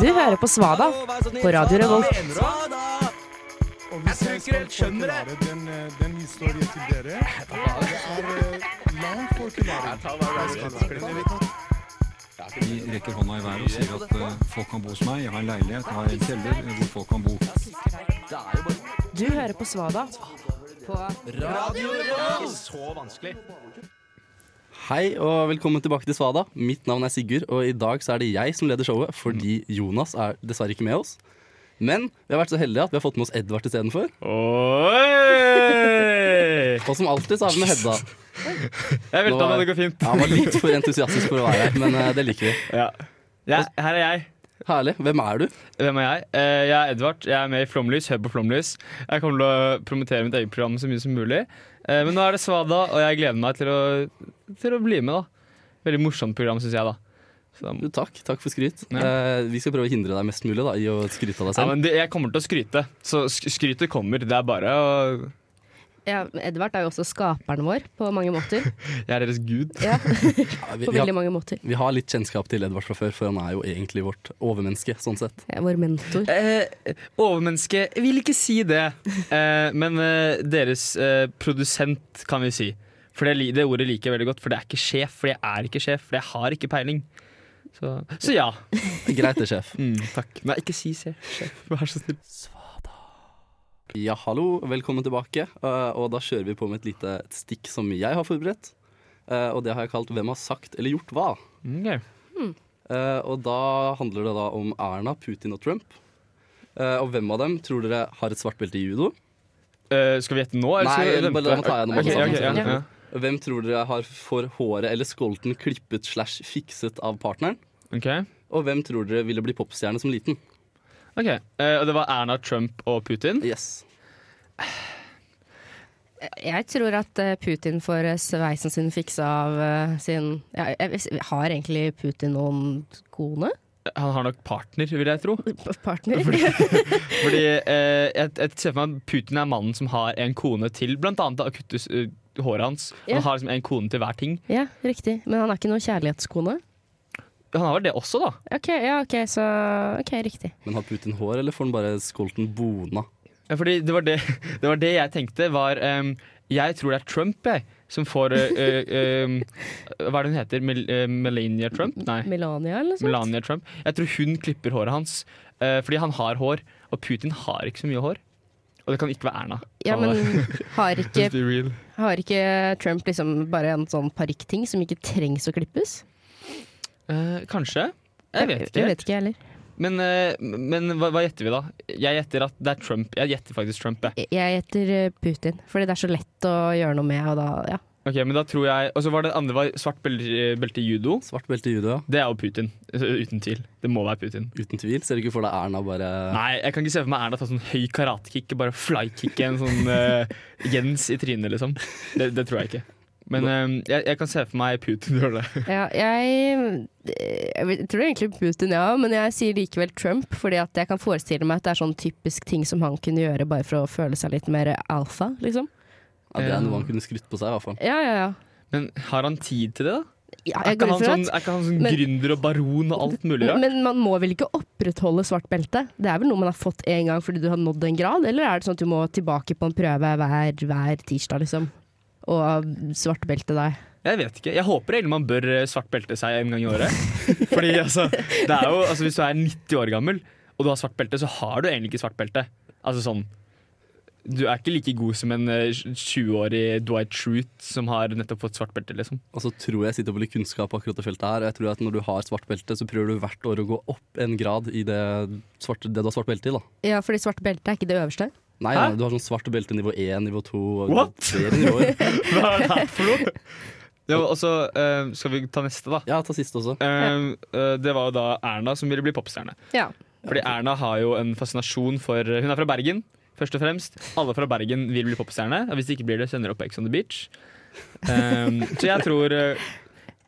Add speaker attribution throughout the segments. Speaker 1: Du hører på Svada på Radio Revolt.
Speaker 2: Og hvis jeg skal forklare den, eh, den historien til dere Det er eh, lang forklaring.
Speaker 3: De rekker hånda i været og sier at eh, folk kan bo hos meg, jeg har en leilighet, jeg har en kjeller eh, hvor folk kan bo.
Speaker 1: Du hører på Svada på
Speaker 4: Hei og velkommen tilbake til Svada. Mitt navn er Sigurd, og i dag så er det jeg som leder showet fordi Jonas er dessverre ikke med oss. Men vi har vært så heldige at vi har fått med oss Edvard istedenfor.
Speaker 5: Oi!
Speaker 4: Og som alltid så har vi med Hedda.
Speaker 5: Jeg velta,
Speaker 4: Nå er-
Speaker 5: men det går fint.
Speaker 4: Ja, Han var litt for entusiastisk for å være her, men eh, det liker vi.
Speaker 5: Ja. Jeg- her er jeg.
Speaker 4: Herlig. Hvem er du?
Speaker 5: Hvem er jeg? Eh, Jeg er Edvard. Jeg er med i Flomlys. Hør på Flomlys. Jeg kommer til å promotere mitt eget program så mye som mulig. Eh, Men nå er det Svada, og jeg gleder meg til å, til å bli med, da. Veldig morsomt program, syns jeg, da. Så da
Speaker 4: Jo,
Speaker 5: må-
Speaker 4: Takk. Takk for skryt.
Speaker 5: Ja.
Speaker 4: Eh, vi skal prøve å hindre deg mest mulig da, i å skryte av deg
Speaker 5: Ja,
Speaker 4: selv.
Speaker 5: men det, jeg kommer til å skryte, så sk- skrytet kommer. Det er bare å
Speaker 6: Ja, Edvard er jo også skaperen vår på mange måter.
Speaker 5: Jeg er deres gud.
Speaker 6: Ja,
Speaker 4: Ja,
Speaker 6: på
Speaker 4: vi, vi,
Speaker 6: veldig
Speaker 4: har,
Speaker 6: mange måter.
Speaker 4: vi har litt kjennskap til Edvard fra før, for han er jo egentlig vårt overmenneske sånn sett.
Speaker 6: Jeg er vår mentor.
Speaker 5: Eh, overmenneske jeg vil ikke si det, eh, men eh, deres eh, produsent kan vi si. For det, li- det ordet liker jeg veldig godt, for det er ikke sjef, for jeg er ikke sjef, for jeg har ikke peiling. Så, så ja. Mm,
Speaker 4: Greit det, sjef.
Speaker 5: takk. Nei, ikke si sjef. sjef. Vær så snill.
Speaker 4: Ja, hallo, velkommen tilbake. Eh, og da kjører vi på med et lite stikk som jeg har forberedt. Eh, og det har jeg kalt 'Hvem har sagt eller gjort hva?". Eh, og da handler det da om Erna, Putin og Trump. Eh, og hvem av dem tror dere har et svart belte i judo?
Speaker 5: Eh, skal vi gjette nå? eller skal
Speaker 4: Nei,
Speaker 5: vi vente?
Speaker 4: bare la meg ta gjennom
Speaker 5: Ok,
Speaker 4: alle
Speaker 5: ok,
Speaker 4: sammen.
Speaker 5: ja, ja.
Speaker 4: Hvem tror dere har får håret eller skolten klippet slash fikset av partneren?
Speaker 5: Ok.
Speaker 4: Og hvem tror dere ville bli popstjerne som liten?
Speaker 5: Ok, eh, Og det var Erna, Trump og Putin.
Speaker 4: Yes.
Speaker 6: Jeg tror at eh, Putin får eh, sveisen sin fiksa av eh, sin ja, jeg, jeg, Har egentlig Putin noen kone?
Speaker 5: Han har nok partner, vil jeg tro.
Speaker 6: P- Partner?
Speaker 5: Fordi eh, jeg, jeg ser for meg at Putin er mannen som har en kone til, blant annet da kuttes eh, håret hans.
Speaker 6: Ja.
Speaker 5: Han har liksom en kone til hver ting.
Speaker 6: ja, riktig. Men han er ikke noen kjærlighetskone?
Speaker 5: Han har vel det også, da.
Speaker 6: Ok, ja, ok, så Ok, riktig.
Speaker 4: Men har Putin hår, eller får han bare skolten bona?
Speaker 5: Ja, fordi det var det, det var det jeg tenkte var ehm, Jeg tror det er Trump, jeg, som får eh, eh, ehm, Hva er det hun heter? Mel eh, Melania Trump?
Speaker 6: Mm.
Speaker 5: Nei.
Speaker 6: Melania, eller noe sånt?
Speaker 5: Melania Trump. Jeg tror hun klipper håret hans, eh, fordi han har hår. Og Putin har ikke så mye hår. Og det kan ikke være Erna.
Speaker 6: Ja, men har ikke,
Speaker 5: Let's be real.
Speaker 6: har ikke Trump liksom bare en sånn parykkting som ikke trengs å klippes?
Speaker 5: Eh, kanskje? Jeg vet ikke.
Speaker 6: Jeg vet ikke, jeg heller.
Speaker 5: Men, eh, men hva, hva gjetter vi, da? Jeg gjetter at det er Trump. Jeg gjetter faktisk Trump. Jeg.
Speaker 6: Jeg- Jeg gjetter eh, Putin, fordi det er så lett å gjøre noe med, og da ja.
Speaker 5: Ok, men da tror jeg Og så var det andre var svart belte belte i judo.
Speaker 4: Svart belte i judo, ja.
Speaker 5: Det er jo Putin. Eh, Uten tvil. Det må være Putin.
Speaker 4: Uten tvil. Ser du ikke for deg Erna bare
Speaker 5: Nei, jeg kan ikke se for meg Erna ta sånn høy karatekick og bare flykicke en sånn eh, Jens i trynet, liksom. Det, det tror jeg ikke. Men eh, jeg, jeg kan se for meg Putin gjøre det.
Speaker 6: ja jeg, jeg vet- jeg tror egentlig Putin, ja, men jeg sier likevel Trump, fordi at jeg kan forestille meg at det er sånn typisk ting som han kunne gjøre bare for å føle seg litt mer alfa, liksom.
Speaker 4: Ja, det er noe han kunne skrytt på seg, i hvert fall.
Speaker 6: Ja, ja, ja.
Speaker 5: Men har han tid til det, da?
Speaker 6: ja
Speaker 5: Er
Speaker 6: jeg
Speaker 5: ikke
Speaker 6: går
Speaker 5: han
Speaker 6: ut fra
Speaker 5: sånn,
Speaker 6: at
Speaker 5: er ikke han sånn
Speaker 6: Men-
Speaker 5: gründer og baron og alt mulig rart?
Speaker 6: men man må vel ikke opprettholde svart belte? Det er vel noe man har fått én gang fordi du har nådd en grad, eller er det sånn at du må tilbake på en prøve hver, hver tirsdag, liksom? Og svart belte deg.
Speaker 5: Jeg vet ikke. Jeg håper egentlig man bør eh, svart belte seg en gang i året. Fordi altså, det er jo, altså Hvis du er 90 år gammel og du har svart belte, så har du egentlig ikke svart belte. Altså sånn Du er ikke like god som en eh, 20-årig Dwight Truth som har nettopp fått svart belte, liksom.
Speaker 4: Og så tror jeg sitter på litt kunnskap på akkurat det feltet her. Og jeg tror at når du har svart belte, så prøver du hvert år å gå opp en grad i det, svarte, det du har svart belte i, da.
Speaker 6: Ja, fordi svart belte er ikke det øverste.
Speaker 4: Nei,
Speaker 5: Hæ?
Speaker 4: nei, du har sånn svart belte nivå 1, nivå 2 og
Speaker 5: What?
Speaker 4: flere nivåer.
Speaker 5: Hva er det her for noe? Ja, og så eh, skal vi ta neste, da.
Speaker 4: Ja, ta siste også.
Speaker 5: Eh, eh, det var jo da Erna som ville bli popstjerne.
Speaker 6: Ja.
Speaker 5: Fordi Erna har jo en fascinasjon for Hun er fra Bergen, først og fremst. Alle fra Bergen vil bli popstjerne. og Hvis de ikke blir det, sender de opp på Ex on the Beach. Um, så jeg tror eh,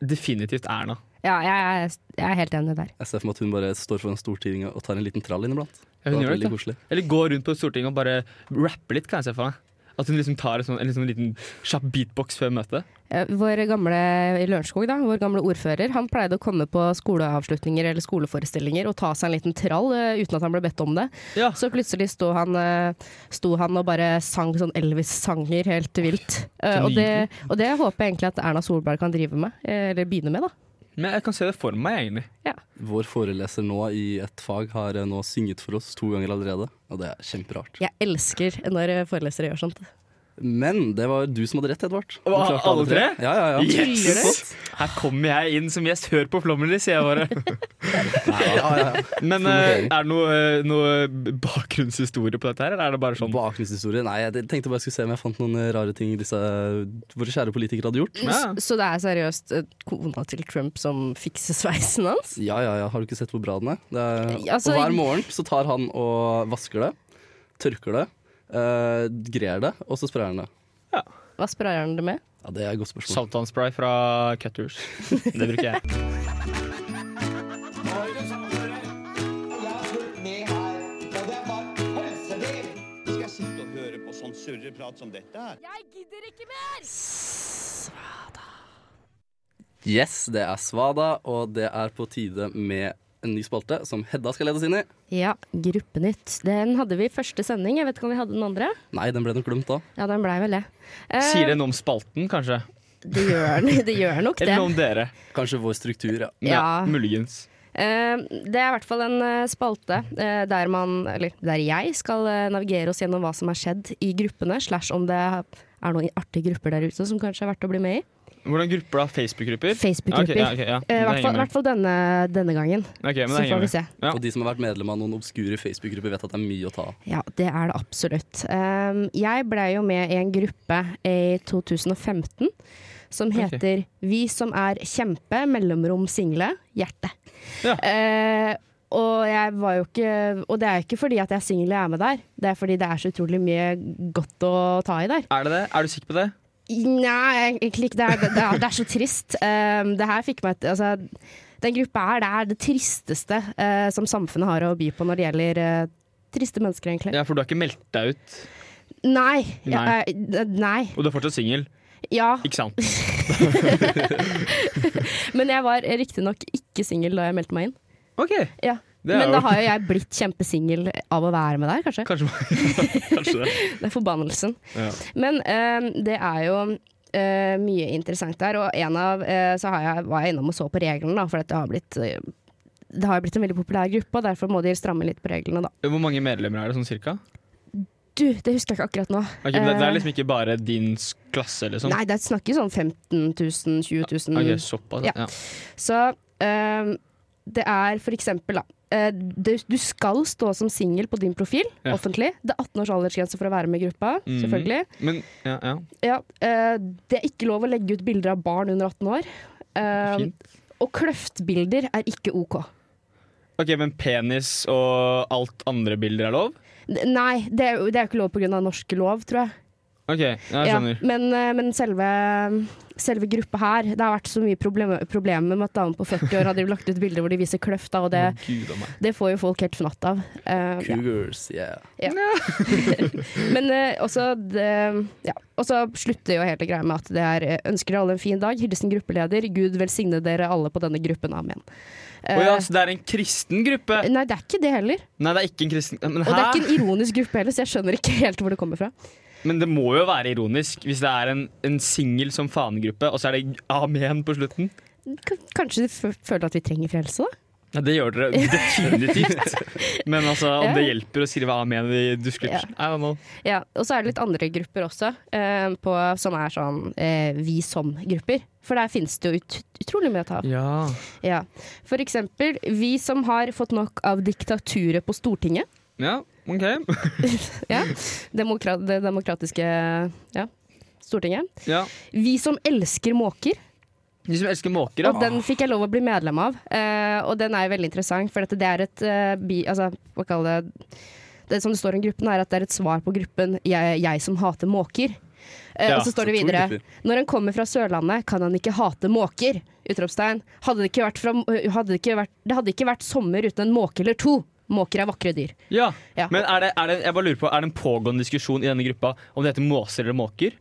Speaker 5: definitivt Erna.
Speaker 6: Ja, jeg er, jeg er helt enig der.
Speaker 4: Jeg ser for meg at hun bare står foran Stortinget og tar en liten trall inniblant.
Speaker 5: Ja, hun gjør
Speaker 4: Det er
Speaker 5: det,
Speaker 4: veldig
Speaker 5: da.
Speaker 4: koselig.
Speaker 5: Eller gå rundt på Stortinget og bare rappe litt, kan jeg se for meg. At hun liksom tar en, sånn, en sånn liten kjapp beatbox før møtet.
Speaker 6: Eh, Vår gamle i Lørenskog, da, vår gamle ordfører, han pleide å komme på skoleavslutninger eller skoleforestillinger og ta seg en liten trall eh, uten at han ble bedt om det.
Speaker 5: Ja.
Speaker 6: Så plutselig sto han, eh, sto han og bare sang sånn Elvis-sanger helt vilt. Eh, og, det, og det håper jeg egentlig at Erna Solberg kan drive med, eh, eller begynne med, da.
Speaker 5: Men jeg kan se det for meg, egentlig.
Speaker 4: Vår foreleser nå i et fag har eh, nå synget for oss to ganger allerede, og det er kjemperart.
Speaker 6: Jeg elsker når eh, forelesere gjør sånt.
Speaker 4: Men det var du som hadde rett, Edvard. Du
Speaker 5: Hva,
Speaker 4: klarte
Speaker 5: alle tre?
Speaker 4: Ja, ja, ja.
Speaker 5: Yes!
Speaker 4: Tusen takk.
Speaker 5: Her kommer jeg inn som gjest. Hør på Flommerly, sier jeg bare.
Speaker 4: Ja, ja, ja.
Speaker 5: Men eh, er det noe, eh, noe bakgrunnshistorie på dette her, eller er det bare sånn
Speaker 4: Bakgrunnshistorie? Nei, jeg tenkte bare jeg skulle se om jeg fant noen eh, rare ting disse våre kjære politikere hadde gjort.
Speaker 5: Ja.
Speaker 6: Så det er seriøst eh, kona til Trump som fikser sveisen hans?
Speaker 4: Ja, ja, ja. Har du ikke sett hvor bra den er? Det er
Speaker 6: Altså-
Speaker 4: og hver morgen så tar han og vasker det, tørker det, eh, grer det, og så sprayer han det.
Speaker 6: Hva sprayer han det med?
Speaker 4: Ja, Det er et godt spørsmål.
Speaker 5: Saltvannsspray fra Cutters? Det bruker jeg.
Speaker 7: Skal jeg sitte og høre på sånn surreprat som dette her?
Speaker 4: Yes, det er Svada, og det er på tide med en ny spalte som Hedda skal lede oss inn i.
Speaker 6: Ja, Gruppenytt. Den hadde vi i første sending. Jeg vet ikke om vi hadde den andre.
Speaker 4: Nei, den ble nok glemt da.
Speaker 6: Ja, den blei vel det. Eh,
Speaker 5: Sier det noe om spalten, kanskje?
Speaker 6: det, gjør, den- det gjør nok det.
Speaker 5: Eller noe om dere?
Speaker 4: Kanskje vår struktur, ja.
Speaker 6: Ja.
Speaker 5: Muligens.
Speaker 6: Eh, det er i hvert fall en eh, spalte eh, der man, eller der jeg, skal eh, navigere oss gjennom hva som har skjedd i gruppene, slash om det er noen artige grupper der ute som kanskje er verdt å bli med i.
Speaker 5: Hvordan grupper da? Facebook-grupper?
Speaker 6: Facebook-grupper.
Speaker 5: Ja, ok, ja, ok, ja.
Speaker 6: Eh, I
Speaker 5: Det
Speaker 6: hvert
Speaker 5: henger
Speaker 6: fall- i
Speaker 5: med.
Speaker 6: hvert fall denne, denne gangen.
Speaker 5: Ok, men
Speaker 6: Så
Speaker 5: det henger
Speaker 6: får vi
Speaker 5: med.
Speaker 6: se.
Speaker 5: Ja.
Speaker 4: Og de som har vært medlem av noen obskure Facebook-grupper, vet at det er mye å ta av.
Speaker 6: Ja, det er det absolutt. Ehm, jeg blei jo med i en gruppe i 2015 som heter Vi som er kjempe, mellomrom single, hjerte.
Speaker 5: Ja.
Speaker 6: Eh, og jeg var jo ikke Og det er jo ikke fordi at jeg er singel jeg er med der, det er fordi det er så utrolig mye godt å ta i der.
Speaker 5: Er det det? Er du sikker på det?
Speaker 6: Nei, egentlig ikke. Det er, det er, det er så trist. Um, det her fikk meg et altså, Den gruppa her, det er det tristeste eh, som samfunnet har å by på når det gjelder eh, triste mennesker, egentlig.
Speaker 5: Ja, For du har ikke meldt deg ut,
Speaker 6: Nei. Ja,
Speaker 5: Nei.
Speaker 6: eh, d- nei.
Speaker 5: og du er fortsatt singel,
Speaker 6: Ja.
Speaker 5: ikke sant?
Speaker 6: Men jeg var riktignok ikke singel da jeg meldte meg inn.
Speaker 5: Ok,
Speaker 6: Ja.
Speaker 5: Det er
Speaker 6: Men
Speaker 5: jo-
Speaker 6: da har jo jeg blitt kjempesingel av å være med der, kanskje.
Speaker 5: Kanskje, kanskje det.
Speaker 6: Det er forbannelsen.
Speaker 5: Ja.
Speaker 6: Men eh, det er jo eh, mye interessant der, og en av eh, så har jeg, var jeg innom og så på reglene, da, for at det har blitt eh, det har jo blitt en veldig populær gruppe, og derfor må de stramme litt på reglene. da.
Speaker 5: Hvor mange medlemmer er det sånn cirka?
Speaker 6: Du, det husker jeg ikke akkurat nå.
Speaker 5: Ok, men det, det
Speaker 6: Eh,
Speaker 5: er liksom ikke bare din s- klasse, liksom?
Speaker 6: Nei, det er snakker sånn 15 000, 20 000.
Speaker 5: Ok, såpass.
Speaker 6: Ja.
Speaker 5: Ja.
Speaker 6: Så eh, det er for eksempel, da. eh, Du, du skal stå som singel på din profil,
Speaker 5: Ja.
Speaker 6: offentlig. Det er 18 års aldersgrense for å være med i gruppa,
Speaker 5: Mhm.
Speaker 6: selvfølgelig.
Speaker 5: Men ja, ja.
Speaker 6: Ja, eh, det er ikke lov å legge ut bilder av barn under 18 år. Eh,
Speaker 5: Fint.
Speaker 6: og kløftbilder er ikke OK.
Speaker 5: Ok, men penis og alt andre bilder er lov?
Speaker 6: N- Nei, det er, jo- det er jo ikke lov pga. norsk lov, tror jeg.
Speaker 5: Ok, ja, jeg
Speaker 6: Ja,
Speaker 5: skjønner.
Speaker 6: men eh, men selve, selve gruppa her Det har vært så mye problem, problemer med at damer på 40 år hadde lagt ut bilder hvor de viser kløfta, og det,
Speaker 5: Å, Gud av meg.
Speaker 6: det får jo folk helt fnatt av. Eh, ja.
Speaker 4: Cougars, yeah.
Speaker 6: Men eh, også det, ja. Og så slutter jo hele greia med at det er eh, 'ønsker dere alle en fin dag', hilsen gruppeleder, Gud velsigne dere alle på denne gruppen, amen.
Speaker 5: Å ja,
Speaker 6: Eh,
Speaker 5: så det er en kristen gruppe?
Speaker 6: Nei, det er ikke det heller.
Speaker 5: Nei, det er ikke en kristen Men
Speaker 6: Og det er
Speaker 5: hæ?
Speaker 6: ikke en ironisk gruppe heller, så jeg skjønner ikke helt hvor det kommer fra.
Speaker 5: Men det må jo være ironisk hvis det er en, en singel som fanegruppe, og så er det amen på slutten?
Speaker 6: K kanskje de fø- føler at vi trenger frelse, da?
Speaker 5: Ja, det gjør dere definitivt. Men altså, om det
Speaker 6: Ja.
Speaker 5: hjelper å skrive amen i description I don't know.
Speaker 6: Ja, Og så er det litt andre grupper også, eh, på, som er sånn eh, vi som-grupper. For der finnes det jo ut utrolig mye å ta av.
Speaker 5: Ja.
Speaker 6: Ja. For eksempel vi som har fått nok av diktaturet på Stortinget.
Speaker 5: ja, OK.
Speaker 6: Ja. Demokra det demokratiske ja, Stortinget.
Speaker 5: Ja.
Speaker 6: Vi som elsker måker.
Speaker 5: De som elsker måker,
Speaker 6: Og den fikk jeg lov å bli medlem av, eh, og den er jo veldig interessant, for dette, det er et eh, bi... Altså, hva kaller det Det som det står om gruppen, er at det er et svar på gruppen 'Jeg, jeg som hater måker'. Eh,
Speaker 5: Ja,
Speaker 6: og så står det
Speaker 4: så to
Speaker 6: videre
Speaker 4: grupper.
Speaker 6: Når han kommer fra Sørlandet, kan han ikke hate måker! Utropstegn. Hadde det ikke vært fra Hadde det ikke vært Det hadde ikke vært sommer uten en måke eller to! Måker er vakre dyr.
Speaker 5: Ja.
Speaker 6: Ja.
Speaker 5: Men er det, er, det, jeg bare lurer på, er det en pågående diskusjon i denne gruppa om det heter måser eller måker?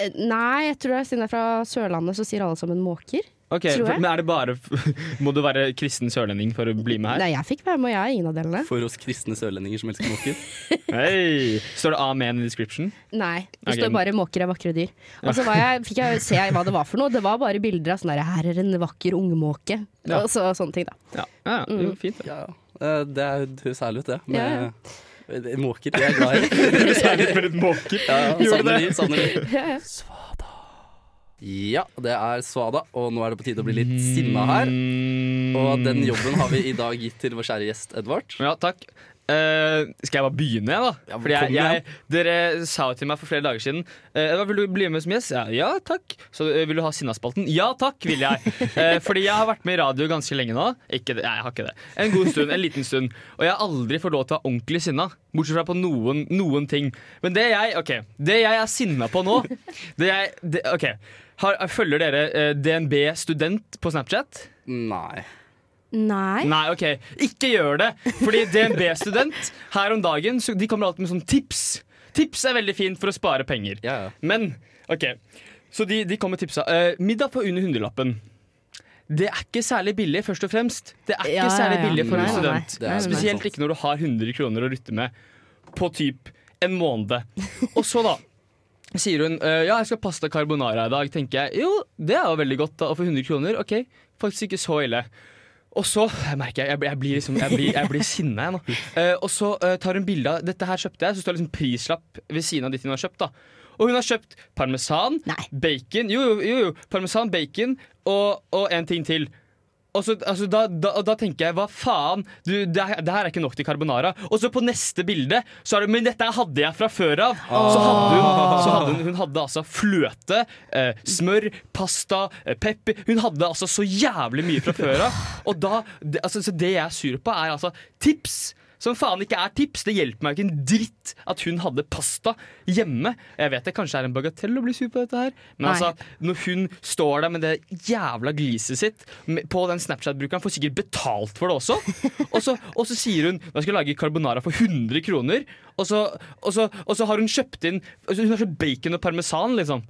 Speaker 6: Eh, Nei, jeg tror det er siden jeg er fra Sørlandet, så sier alle sammen måker.
Speaker 5: Ok,
Speaker 6: Tror jeg.
Speaker 5: for, men er det bare Må du være kristen sørlending for å bli med her?
Speaker 6: Nei, jeg fikk være med, og jeg er ingen av delene.
Speaker 4: For oss kristne sørlendinger som elsker måker.
Speaker 5: Hei! Står det amen i description?
Speaker 6: Nei, det
Speaker 5: Ok,
Speaker 6: står
Speaker 5: men-
Speaker 6: bare 'måker er vakre dyr'. Og så var jeg, fikk jeg se hva det var for noe. Det var bare bilder av sånn der 'her er en vakker ungmåke'.
Speaker 5: Ja.
Speaker 6: Og så, sånne ting, da.
Speaker 5: Ja, ja
Speaker 4: Mm.
Speaker 5: jo, fint. det.
Speaker 4: Ja, eh, det er- det høres herlig ut, det. Med
Speaker 6: Ja, ja.
Speaker 4: Eh, måker. Jeg er glad i
Speaker 5: Særlig for et måker.
Speaker 4: Ja,
Speaker 5: Gjorde
Speaker 4: savner
Speaker 5: det.
Speaker 4: de, savner de. Ja, det er Svada, og nå er det på tide å bli litt sinna her.
Speaker 5: Mm.
Speaker 4: Og den jobben har vi i dag gitt til vår kjære gjest Edvard.
Speaker 5: Ja, takk. Eh, skal jeg bare begynne, jeg, da?
Speaker 4: Ja, men
Speaker 5: Fordi jeg,
Speaker 4: kom
Speaker 5: jeg, dere sa jo til meg for flere dager siden eh, Edvard, Vil du bli med som gjest? Ja, ja takk. Så eh, vil du ha Sinnaspalten? Ja takk, vil jeg. Eh, fordi jeg har vært med i radio ganske lenge nå. Ikke det, nei, jeg har ikke det. En god stund. En liten stund. Og jeg har aldri fått lov til å være ordentlig sinna. Bortsett fra på noen, noen ting. Men det jeg, ok, det jeg er sinna på nå det jeg, det, ok, har, Følger dere eh, DNB Student på Snapchat?
Speaker 4: Nei.
Speaker 6: Nei.
Speaker 5: Nei, ok, ikke gjør det Fordi DNB-student her om dagen så De kommer alltid med sånn tips Tips er veldig fint for å spare penger
Speaker 4: Ja, ja.
Speaker 5: Men, ok Så de, de kommer med tipsa Eh, Middag på under hundrelappen Det er ikke særlig billig, først og fremst Det er ikke
Speaker 6: Ja, ja,
Speaker 5: særlig
Speaker 6: ja.
Speaker 5: billig for
Speaker 6: Nei,
Speaker 5: en
Speaker 6: nei, nei.
Speaker 5: student
Speaker 4: Det er
Speaker 6: Nei, nei,
Speaker 5: Spesielt ikke når du har 100 kroner å rutte med på typ en måned. Og så da sier hun «Eh, ja, jeg skal ha pasta carbonara i dag. Tenker jeg jo, det er jo veldig godt da, å få 100 kroner. Ok, faktisk ikke så ille. Og så jeg merker jeg, jeg, blir- jeg blir liksom, jeg blir, jeg blir sinna jeg nå. Eh, og så eh, tar hun bilde av dette her kjøpte jeg, så står det liksom prislapp ved siden av de tingene hun har kjøpt. da. Og hun har kjøpt parmesan,
Speaker 6: Nei.
Speaker 5: bacon, jo, jo, jo, jo, parmesan, bacon og, og en ting til. Og så, altså, da, da, og da tenker jeg hva faen, du, det, her- det her er ikke nok til carbonara. Og så på neste bilde så er det Men dette hadde jeg fra før av! Så hadde hun, så hadde hun, hun hadde altså fløte, eh, smør, pasta, eh, pepper Hun hadde altså så jævlig mye fra før av. Og da, det, altså, så det jeg er sur på, er altså tips. Som faen ikke er tips. Det hjelper meg ikke en dritt at hun hadde pasta hjemme. Jeg vet det kanskje er en bagatell å bli sur på dette her, men
Speaker 6: Nei.
Speaker 5: altså når hun står der med det jævla gliset sitt med- på den Snapchat-brukeren, får sikkert betalt for det også. Og så, og så sier hun at hun skal lage carbonara for 100 kroner, og så, og så, og så har hun kjøpt inn altså Hun har kjøpt bacon og parmesan, liksom.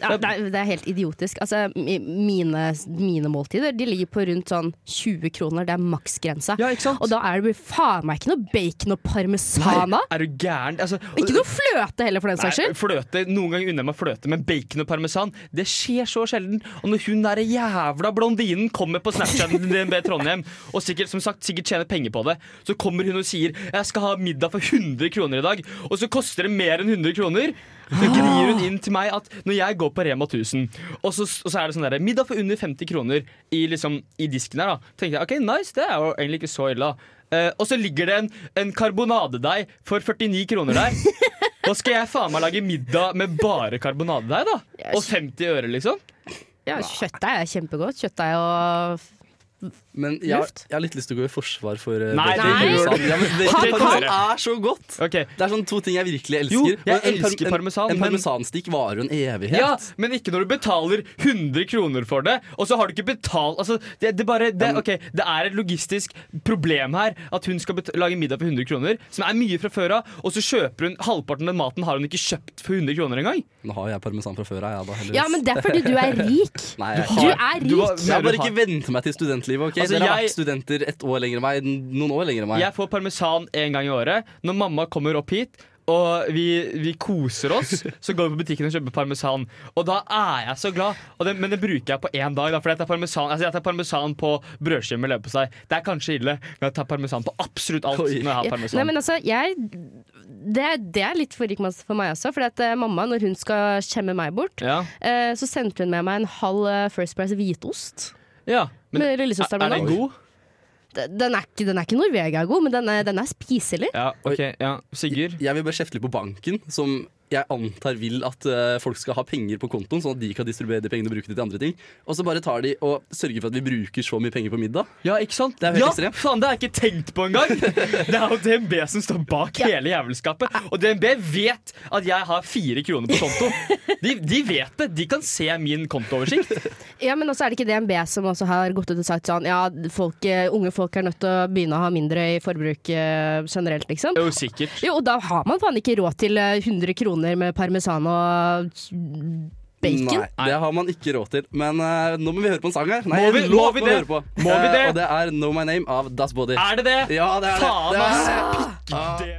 Speaker 6: Ja, det, er, det er helt idiotisk. Altså, mi- mine, mine måltider de ligger på rundt sånn 20 kroner. Det er maksgrensa.
Speaker 5: Ja, ikke sant?
Speaker 6: Og da er det faen meg ikke noe bacon og parmesan da.
Speaker 5: Er du gæren? Altså,
Speaker 6: Ikke noe fløte heller, for den saks
Speaker 5: Nei,
Speaker 6: skyld.
Speaker 5: fløte, Noen ganger unner jeg meg fløte, men bacon og parmesan Det skjer så sjelden. Og når hun der jævla blondinen kommer på Snapchat til DNB Trondheim og sikkert som sagt, sikkert tjener penger på det, så kommer hun og sier 'jeg skal ha middag for 100 kroner i dag', og så koster det mer enn 100 kroner. Så
Speaker 6: Ah.
Speaker 5: gnir hun inn til meg at når jeg går på Rema 1000, og så, og så er det sånn der, middag for under 50 kroner i, liksom, i disken her, da tenker jeg ok, nice, det er jo egentlig ikke så ille. da Eh, og så ligger det en, en karbonadedeig for 49 kroner der. Da skal jeg faen meg lage middag med bare karbonadedeig, da. Og 50 øre, liksom.
Speaker 6: Ja, kjøttdeig er kjempegodt. Kjøttdeig og
Speaker 4: Men jeg,
Speaker 6: Luft?
Speaker 4: jeg har litt lyst til å gå i forsvar for eh,
Speaker 5: Nei,
Speaker 4: bacon
Speaker 5: det
Speaker 4: og
Speaker 5: gjør
Speaker 4: parmesan.
Speaker 5: du.
Speaker 4: Ja, men bacon
Speaker 5: Han-
Speaker 4: og parmesan er så godt!
Speaker 5: Ok,
Speaker 4: Det er sånn to ting jeg virkelig elsker.
Speaker 5: Jo, jeg
Speaker 4: Og en par-
Speaker 5: elsker
Speaker 4: en-
Speaker 5: parmesan,
Speaker 4: En
Speaker 5: men-
Speaker 4: parmesanstikk varer jo en evighet.
Speaker 5: ja, Men ikke når du betaler 100 kroner for det, og så har du ikke betalt altså, det, det, bare, det, ok, det er et logistisk problem her at hun skal bet- lage middag for 100 kroner, som er mye fra før av, og så kjøper hun halvparten av den maten har hun ikke kjøpt for 100 kroner engang.
Speaker 4: Nå har jo jeg parmesan fra før av, jeg, da. heldigvis.
Speaker 6: Ja, men det er fordi du er rik.
Speaker 4: Nei, jeg-
Speaker 6: Du er
Speaker 5: Du har-
Speaker 6: rik.
Speaker 4: Jeg
Speaker 5: Mener
Speaker 4: har
Speaker 5: du
Speaker 4: bare ikke vent meg til studentlivet. ok?
Speaker 5: Altså,
Speaker 4: Dere har
Speaker 5: jeg-
Speaker 4: vært studenter et år lenger enn meg. n- Noen år lenger enn meg.
Speaker 5: Jeg får parmesan en gang i året. Når mamma kommer opp hit og vi, vi koser oss, så går vi på butikken og kjøper parmesan. Og da er jeg så glad. Og det, men det bruker jeg på én dag. Da, for jeg tar parmesan, altså jeg tar parmesan på brødskive med leverpostei. Det er kanskje ille, men jeg tar parmesan på absolutt alt.
Speaker 4: Oi.
Speaker 5: når jeg har
Speaker 6: Ja,
Speaker 5: parmesan
Speaker 6: Nei, men altså, jeg det, det er litt for rikmanns for meg også. For at eh, mamma, når hun skal skjemme meg bort,
Speaker 5: ja.
Speaker 6: eh, så sendte hun med meg en halv eh, First Price hvitost.
Speaker 5: Ja. Men
Speaker 6: Med
Speaker 5: er,
Speaker 6: lillesøsteren
Speaker 5: er den
Speaker 6: min. da.
Speaker 5: god?
Speaker 6: D- Den er ikke, den er ikke Norvegia god, men den er, den er spiselig.
Speaker 5: Ja, ok, ja. Sigurd?
Speaker 4: Jeg vil bare kjefte litt på banken, som jeg antar vil at eh, folk skal ha penger på kontoen, sånn at de kan distribuere de pengene og bruke det til andre ting. Og så bare tar de og sørger for at vi bruker så mye penger på middag.
Speaker 5: Ja, ikke sant?
Speaker 4: Det er helt
Speaker 5: ja,
Speaker 4: ekstremt.
Speaker 5: faen, det har jeg ikke tenkt på engang! Det er jo DNB som står bak hele jævelskapet. Og DNB vet at jeg har fire kroner på konto. De, de vet det. De kan se min kontooversikt.
Speaker 6: Ja, men også er det ikke DNB som også har gått ut og sagt sånn Ja, folk, eh, unge folk er nødt til å begynne å ha mindre i forbruk eh, generelt, liksom.
Speaker 5: Jo, sikkert.
Speaker 6: Jo, og da har man faen ikke råd til eh, 100 kroner med parmesan og bacon.
Speaker 4: Nei, det har man ikke råd til. Men eh, nå må vi høre på en sang her.
Speaker 5: Må vi-
Speaker 4: en
Speaker 5: må
Speaker 4: låt
Speaker 5: vi
Speaker 4: må vi
Speaker 5: det?
Speaker 4: høre på.
Speaker 5: Må vi
Speaker 4: Eh,
Speaker 5: det?
Speaker 4: Og det er Know My Name av Das Body.
Speaker 5: Er det det?
Speaker 4: Ja, Ah. det er det.
Speaker 5: Faen,
Speaker 4: det.
Speaker 5: ass.
Speaker 4: er det.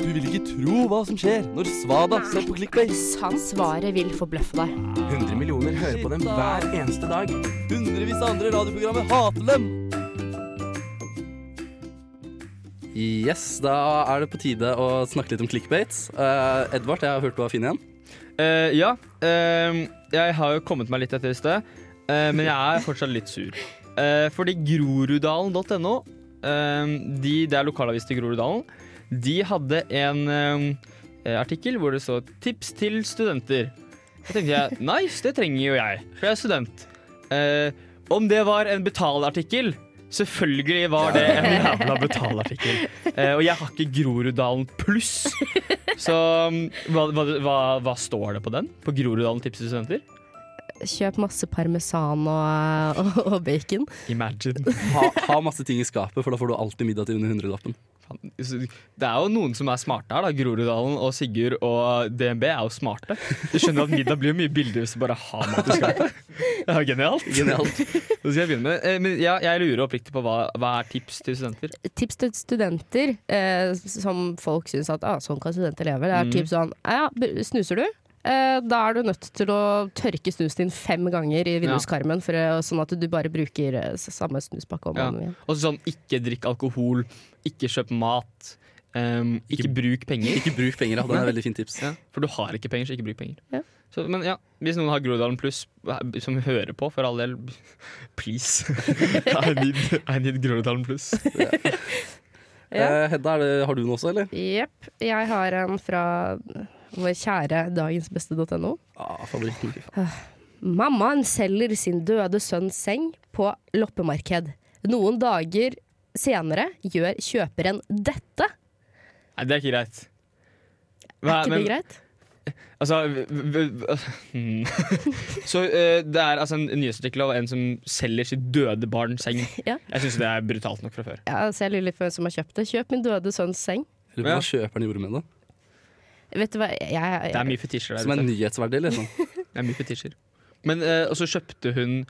Speaker 4: Du vil ikke tro hva som skjer når Svada ser på Clickbase.
Speaker 6: Svaret vil forbløffe deg.
Speaker 8: 100 millioner hører på dem hver eneste dag.
Speaker 4: Hundrevis av andre radioprogrammer hater dem. Yes, da er det på tide å snakke litt om clickbaits. Eh, Edvard, jeg har hørt du har funnet en.
Speaker 5: Eh, ja. eh, jeg har jo kommet meg litt etter i sted, eh, men jeg er fortsatt litt sur. Eh, fordi groruddalen.no, eh, de, det er lokalavis til Groruddalen, de hadde en eh, artikkel hvor det så 'tips til studenter'. Da tenkte jeg nice, det trenger jo jeg, for jeg er student. Eh, om det var en betalartikkel Selvfølgelig var det en jævla betalartikkel. Eh, og jeg har ikke Groruddalen pluss. Så um, hva, hva, hva, hva står det på den? På Groruddalen tipser studenter?
Speaker 6: Kjøp masse parmesan og, og, og bacon.
Speaker 5: Imagine.
Speaker 4: Ha, ha masse ting i skapet, for da får du alltid middag til under hundrelappen.
Speaker 5: Faen, så Det er jo noen som er smarte her, da. Groruddalen og Sigurd og DNB er jo smarte. Du skjønner at middag blir jo mye billigere hvis du bare har mat i skapet. Det er jo genialt.
Speaker 4: Genialt.
Speaker 5: Da skal jeg begynne med eh, Men jeg, jeg lurer oppriktig på hva, hva er tips til studenter?
Speaker 6: Tips til studenter eh, som folk syns at ah, sånn kan studenter leve. Det er
Speaker 5: Mm.
Speaker 6: tips sånn ja, b- Snuser du? Eh, da er du nødt til å tørke snusen din fem ganger i vinduskarmen, for, eh, sånn at du bare bruker eh, s- samme snuspakke om
Speaker 5: Ja.
Speaker 6: og om igjen.
Speaker 5: Og så sånn ikke drikk alkohol, ikke kjøp mat, em, ikke bruk penger.
Speaker 4: Ikke bruk penger, da. Det er et veldig fint tips.
Speaker 5: Ja, for du har ikke penger, så ikke bruk penger.
Speaker 6: Ja.
Speaker 5: Så, men ja, hvis noen har Groruddalen Pluss som hører på, for all del, please. I need, I need Groruddalen Pluss.
Speaker 6: Ja.
Speaker 4: Eh, Hedda, er det, har du den også, eller?
Speaker 6: Jepp. Jeg har en fra vår kjære dagensbeste.no.
Speaker 4: Ah, favoritten.
Speaker 6: Mammaen selger sin døde sønns seng på loppemarked. Noen dager senere gjør kjøperen dette.
Speaker 5: Nei, det er ikke greit.
Speaker 6: Er ikke det greit?
Speaker 5: Altså v- v- v- hmm. Så eh, det er altså en nyhetsartikkel av en som selger sitt døde barn seng.
Speaker 6: Ja.
Speaker 5: Jeg syns det er brutalt nok fra før.
Speaker 6: Ja, så jeg lurer litt på hvem som har kjøpt det. Kjøp min døde sønns seng.
Speaker 4: Eller hva kjøperen gjorde med det?
Speaker 6: Vet du hva, jeg, jeg,
Speaker 5: Det er mye fetisjer
Speaker 4: Som
Speaker 5: der
Speaker 4: er
Speaker 5: ute.
Speaker 4: nyhetsverdig, liksom.
Speaker 5: Det er mye fetisjer. Men, eh, og så kjøpte hun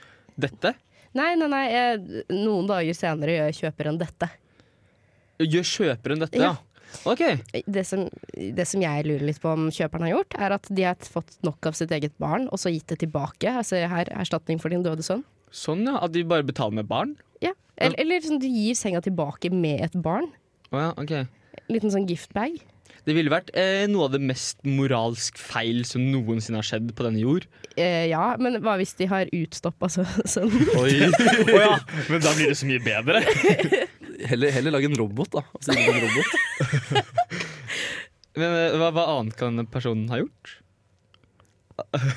Speaker 5: dette.
Speaker 6: Nei, nei, nei. Jeg, noen dager senere gjør kjøperen dette.
Speaker 5: Gjør kjøperen dette, ja?
Speaker 6: Ja.
Speaker 5: OK.
Speaker 6: Det som, det som jeg lurer litt på om kjøperen har gjort, er at de har fått nok av sitt eget barn, og så gitt det tilbake. Altså her, erstatning for din døde sønn.
Speaker 5: Sånn, ja. At de bare betaler med barn?
Speaker 6: Ja. Eller, eller sånn, du gir senga tilbake med et barn.
Speaker 5: Å ja, ok.
Speaker 6: Liten sånn giftbag.
Speaker 5: Det ville vært eh, noe av det mest moralsk feil som noensinne har skjedd på denne jord.
Speaker 6: Eh, ja, men hva hvis de har utstoppa sø- sønnen?
Speaker 5: Oi. ja. Men da blir det så mye bedre.
Speaker 4: Heller, heller lag en robot, da. Altså, ikke en robot.
Speaker 5: Men eh, hva, hva annet kan denne personen ha gjort?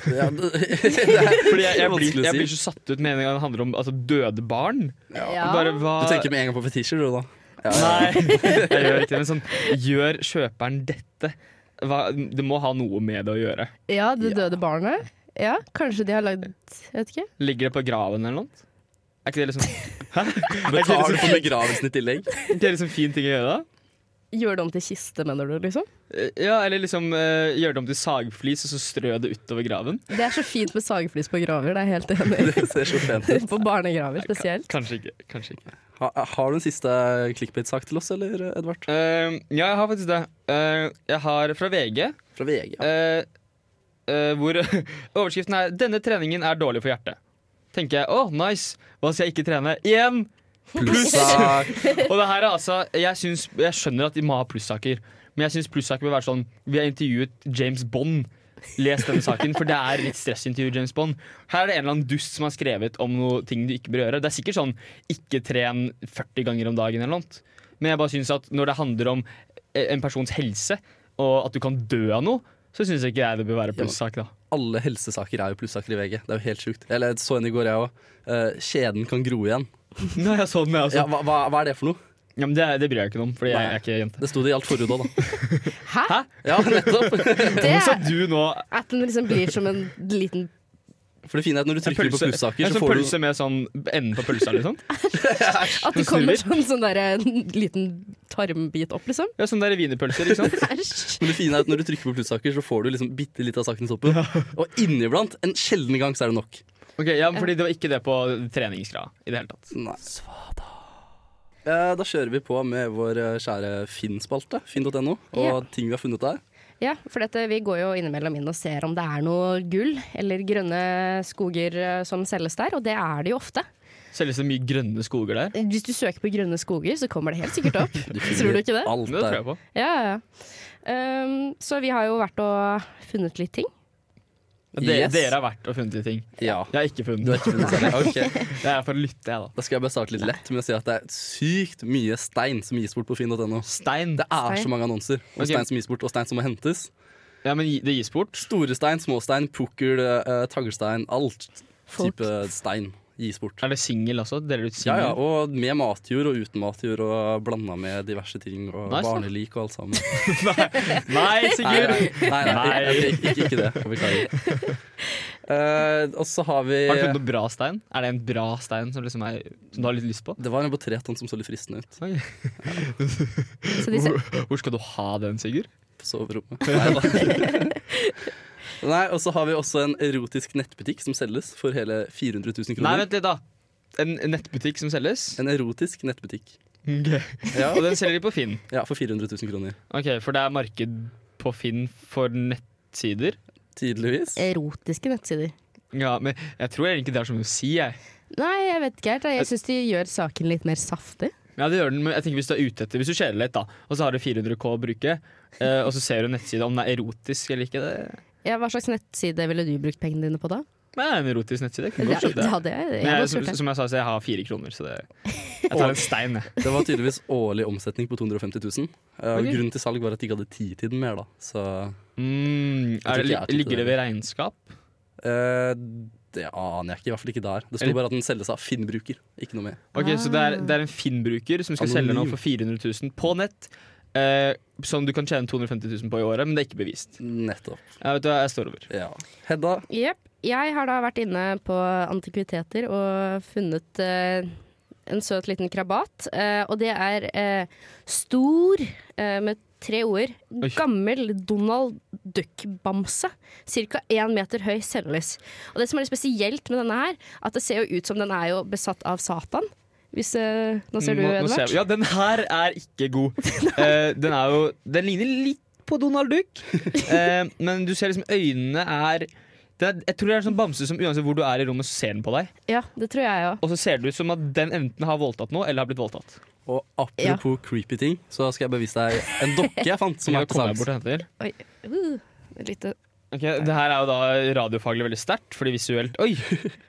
Speaker 4: Ja, det,
Speaker 5: Fordi jeg, jeg,
Speaker 4: Vanskelig
Speaker 5: blir,
Speaker 4: å
Speaker 5: jeg
Speaker 4: si.
Speaker 5: blir så satt ut med en gang det handler om altså, døde barn.
Speaker 6: Ja.
Speaker 5: Bare hva
Speaker 4: du tenker med en gang på fetisjer, du, da.
Speaker 5: Nei, jeg gjør ikke det. Men sånn, gjør kjøperen dette? Hva, det må ha noe med det å gjøre.
Speaker 6: Ja, det døde barnet. Ja, kanskje de har lagd Jeg vet ikke.
Speaker 5: Ligger det på graven eller noe? Er ikke det liksom Hæ? Er ikke det
Speaker 4: Betaler
Speaker 5: liksom,
Speaker 4: for begravelsen i tillegg.
Speaker 5: er ikke det liksom fin ting å gjøre, da?
Speaker 6: Gjør det om til kiste, mener du? liksom?
Speaker 5: Eh, Ja, eller liksom eh, gjør det om til sagflis og så strø det utover graven.
Speaker 6: Det er så fint med sagflis på graver, det er jeg helt enig.
Speaker 4: Det ser så pent ut.
Speaker 6: i. På barnegraver spesielt.
Speaker 5: Kanskje ikke. kanskje ikke.
Speaker 4: Ha, har du en siste clickbait-sak til oss, eller, Edvard?
Speaker 5: Eh, ja, jeg har faktisk det. Eh, jeg har fra VG,
Speaker 4: Fra VG. Ja.
Speaker 5: eh, eh, hvor overskriften er 'Denne treningen er dårlig for hjertet'. Tenker jeg, åh, nice, hva skal jeg ikke trene? Igjen!
Speaker 4: Plussak.
Speaker 5: Og det her er altså, jeg, syns, jeg skjønner at de må ha plussaker, men jeg syns plussaker bør være sånn Vi har intervjuet James Bond. Les denne saken, for det er litt stressintervju. James Bond Her er det en eller annen dust som har skrevet om noe ting du ikke bør gjøre. Det er sikkert sånn 'ikke tren 40 ganger om dagen' eller noe. Men jeg bare syns at når det handler om eh, en persons helse, og at du kan dø av noe, så syns ikke jeg det bør være plussak, da.
Speaker 4: Alle helsesaker er jo plussaker i VG. Det er jo helt sjukt. Eller jeg så en i går, jeg òg. kjeden kan gro igjen.
Speaker 5: Nei, jeg så den, jeg også.
Speaker 4: Ja, hva, hva, hva er det for noe?
Speaker 5: Ja, men det, det bryr jeg ikke noe om, Fordi jeg,
Speaker 4: Nei.
Speaker 5: er ikke jente.
Speaker 4: Det sto det i alt forhud òg, da.
Speaker 6: Hæ?
Speaker 4: Ja, nettopp.
Speaker 6: Det
Speaker 5: Så
Speaker 6: er
Speaker 5: du nå
Speaker 6: at den liksom blir som en liten
Speaker 4: For det fine er at når du
Speaker 5: en
Speaker 4: trykker på
Speaker 5: pølse,
Speaker 4: plussaker,
Speaker 5: en
Speaker 4: så
Speaker 5: sånn
Speaker 4: får du
Speaker 5: pølse med sånn enden på pølsa, liksom?
Speaker 6: At det kommer sånn, sånn der, en liten tarmbit opp, liksom.
Speaker 5: Ja, sånn der wienerpølse, ikke sant?
Speaker 6: Æsj.
Speaker 4: Men det fine er at når du trykker på plussaker, så får du liksom bitte litt av saken i soppen. Og inniblant, en sjelden gang, så er det nok.
Speaker 5: Ok, ja, men Fordi det var ikke det på treningsgrad i det hele tatt.
Speaker 4: Nei. Eh, Da kjører vi på med vår eh, kjære Finn-spalte, finn.no, og
Speaker 6: Ja.
Speaker 4: ting vi har funnet der.
Speaker 6: Ja, for dette, vi går jo innimellom inn og ser om det er noe gull eller grønne skoger eh, som selges der, og det er det jo ofte.
Speaker 5: Selges det mye grønne skoger der?
Speaker 6: Hvis du søker på grønne skoger, så kommer det helt sikkert opp. Tror du ikke det?
Speaker 4: Alt
Speaker 5: Det tror
Speaker 4: der.
Speaker 5: jeg på.
Speaker 6: Ja, ja, ja. Ehm, så vi har jo vært og funnet litt ting.
Speaker 5: Dere,
Speaker 4: Yes.
Speaker 5: dere har vært og funnet de ting.
Speaker 4: Ja.
Speaker 5: Jeg har ikke funnet
Speaker 4: Du har
Speaker 5: det.
Speaker 4: ikke funnet særlig. Ok.
Speaker 5: Jeg er for å lytte, jeg, da.
Speaker 4: Da skal jeg bare starte litt lett med å si at det er sykt mye stein som gis bort på finn.no.
Speaker 5: Stein.
Speaker 4: Det er
Speaker 6: Stein.
Speaker 4: så mange annonser om
Speaker 5: Ok.
Speaker 4: stein som gis bort, og stein som må hentes.
Speaker 5: Ja, men gi- det gis bort.
Speaker 4: Store stein, små stein, pukkel, eh, taglstein, alt
Speaker 6: Folk.
Speaker 4: type stein gis bort.
Speaker 5: Er det singel også? Deler du ut
Speaker 4: Ja,
Speaker 5: singel?
Speaker 4: ja, og med matjord og uten matjord og blanda med diverse ting og
Speaker 5: Nice, da.
Speaker 4: barnelik og alt sammen.
Speaker 5: Nei,
Speaker 4: Nei,
Speaker 5: Sigurd!
Speaker 4: nei, nei, nei,
Speaker 5: Nei.
Speaker 4: jeg- jeg- Ikke, ikke det. Jeg Beklager. Eh, og så har vi
Speaker 5: Har du funnet noe bra stein? Er det en bra stein som, liksom er, som du har litt lyst på?
Speaker 4: Det var en på tre tonn som så litt fristende ut
Speaker 6: Så de,
Speaker 5: Hvor, hvor skal du ha den, Sigurd?
Speaker 4: på soverommet. Nei, da. nei, og så har vi også en erotisk nettbutikk som selges for hele 400 000
Speaker 5: Nei,
Speaker 4: kroner.
Speaker 5: vent litt, da. En nettbutikk som selges.
Speaker 4: En erotisk nettbutikk.
Speaker 5: Ja, og den selger de på Finn.
Speaker 4: Ja, for 400 000 kroner.
Speaker 5: Ok, For det er marked på Finn for nettsider.
Speaker 4: Tydeligvis.
Speaker 6: erotiske nettsider.
Speaker 5: Ja, men jeg tror egentlig det er så mye å si, jeg.
Speaker 6: Nei, jeg vet ikke helt. Jeg syns de gjør saken litt mer saftig.
Speaker 5: Ja, det gjør den, men jeg tenker hvis du er ute etter Hvis du kjeder litt, da, og så har du 400 K å bruke, eh, og så ser du en nettside om den er erotisk eller ikke det.
Speaker 6: Ja, hva slags nettside ville du brukt pengene dine på da?
Speaker 5: Nei, det er en erotisk nettside. jeg Kunne
Speaker 6: Ja,
Speaker 5: godt kjøpt
Speaker 6: det
Speaker 5: det.
Speaker 6: hadde jeg. jeg
Speaker 5: Men
Speaker 6: hadde
Speaker 5: jeg,
Speaker 6: også
Speaker 5: som,
Speaker 6: gjort det.
Speaker 5: som jeg sa, så jeg har fire kroner, så det, jeg tar en stein, jeg.
Speaker 4: Det var tydeligvis årlig omsetning på 250 000. Eh, og
Speaker 5: Ok.
Speaker 4: Grunnen til salg var at de ikke hadde tid til den mer, da. Så
Speaker 5: Mm, er
Speaker 4: tror ikke
Speaker 5: det,
Speaker 4: jeg tok
Speaker 5: ligger det
Speaker 4: det.
Speaker 5: ved regnskap?
Speaker 4: eh, det aner jeg ikke. I hvert fall ikke der. Det sto
Speaker 5: Eller-
Speaker 4: bare at den selges av Finn-bruker, ikke noe mer.
Speaker 5: Ok, Så det er, det er en Finn-bruker som skal selge noe
Speaker 4: Anonym.
Speaker 5: for 400 000 på nett. Eh, som du kan tjene 250 000 på i året, men det er ikke bevist.
Speaker 4: Nettopp.
Speaker 5: Jeg vet du, hva, jeg står over.
Speaker 4: Ja. Hedda,
Speaker 6: Jep. Jeg har da vært inne på antikviteter og funnet eh, en søt liten krabat. eh, og det er eh, stor, eh, med tre ord,
Speaker 5: Oi.
Speaker 6: gammel Donald Duck-bamse. Cirka én meter høy selges. Og det som er litt spesielt med denne her, at det ser jo ut som den er jo besatt av Satan. Hvis, eh, nå ser du,
Speaker 5: Nå- nå ser
Speaker 6: Edvard.
Speaker 5: jeg- Ja, den her er ikke god. Eh, den er jo Den ligner litt på Donald Duck, eh, men du ser liksom øynene er det er, jeg tror det er en sånn bamse som uansett hvor du er i rommet, så ser den på deg.
Speaker 6: Ja, det tror jeg òg.
Speaker 5: Og så ser det ut som at den enten har voldtatt noe, eller har blitt voldtatt.
Speaker 4: og apropos creepy ting, så skal jeg bare vise deg en dokke jeg fant.
Speaker 5: Så
Speaker 4: som
Speaker 5: nå
Speaker 4: er til
Speaker 5: kommer jeg bort
Speaker 4: salgs.
Speaker 5: og henter.
Speaker 6: Oi. Uh, litt,
Speaker 5: Ok, Det her er jo da radiofaglig veldig sterkt, fordi visuelt Oi!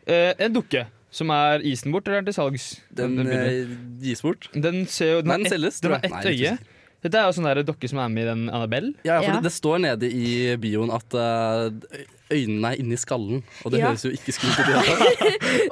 Speaker 5: Eh, en dukke. Som er isen bort, eller er den til salgs?
Speaker 4: Den
Speaker 5: bildet.
Speaker 4: eh, gis bort.
Speaker 5: den ser jo Den,
Speaker 4: Nei,
Speaker 5: har
Speaker 4: den
Speaker 5: ett-
Speaker 4: selges,
Speaker 5: den
Speaker 4: tror
Speaker 5: har ett
Speaker 4: jeg. Nei, jeg
Speaker 5: øye.
Speaker 4: er litt
Speaker 5: Dette er jo sånn der dokke som er med i den Annabelle.
Speaker 4: Ja, for
Speaker 6: Ja.
Speaker 4: Det, det står nede i bioen at eh, øynene er inni skallen, og det
Speaker 6: Ja.
Speaker 4: høres jo ikke skummelt ut. i det hele tatt.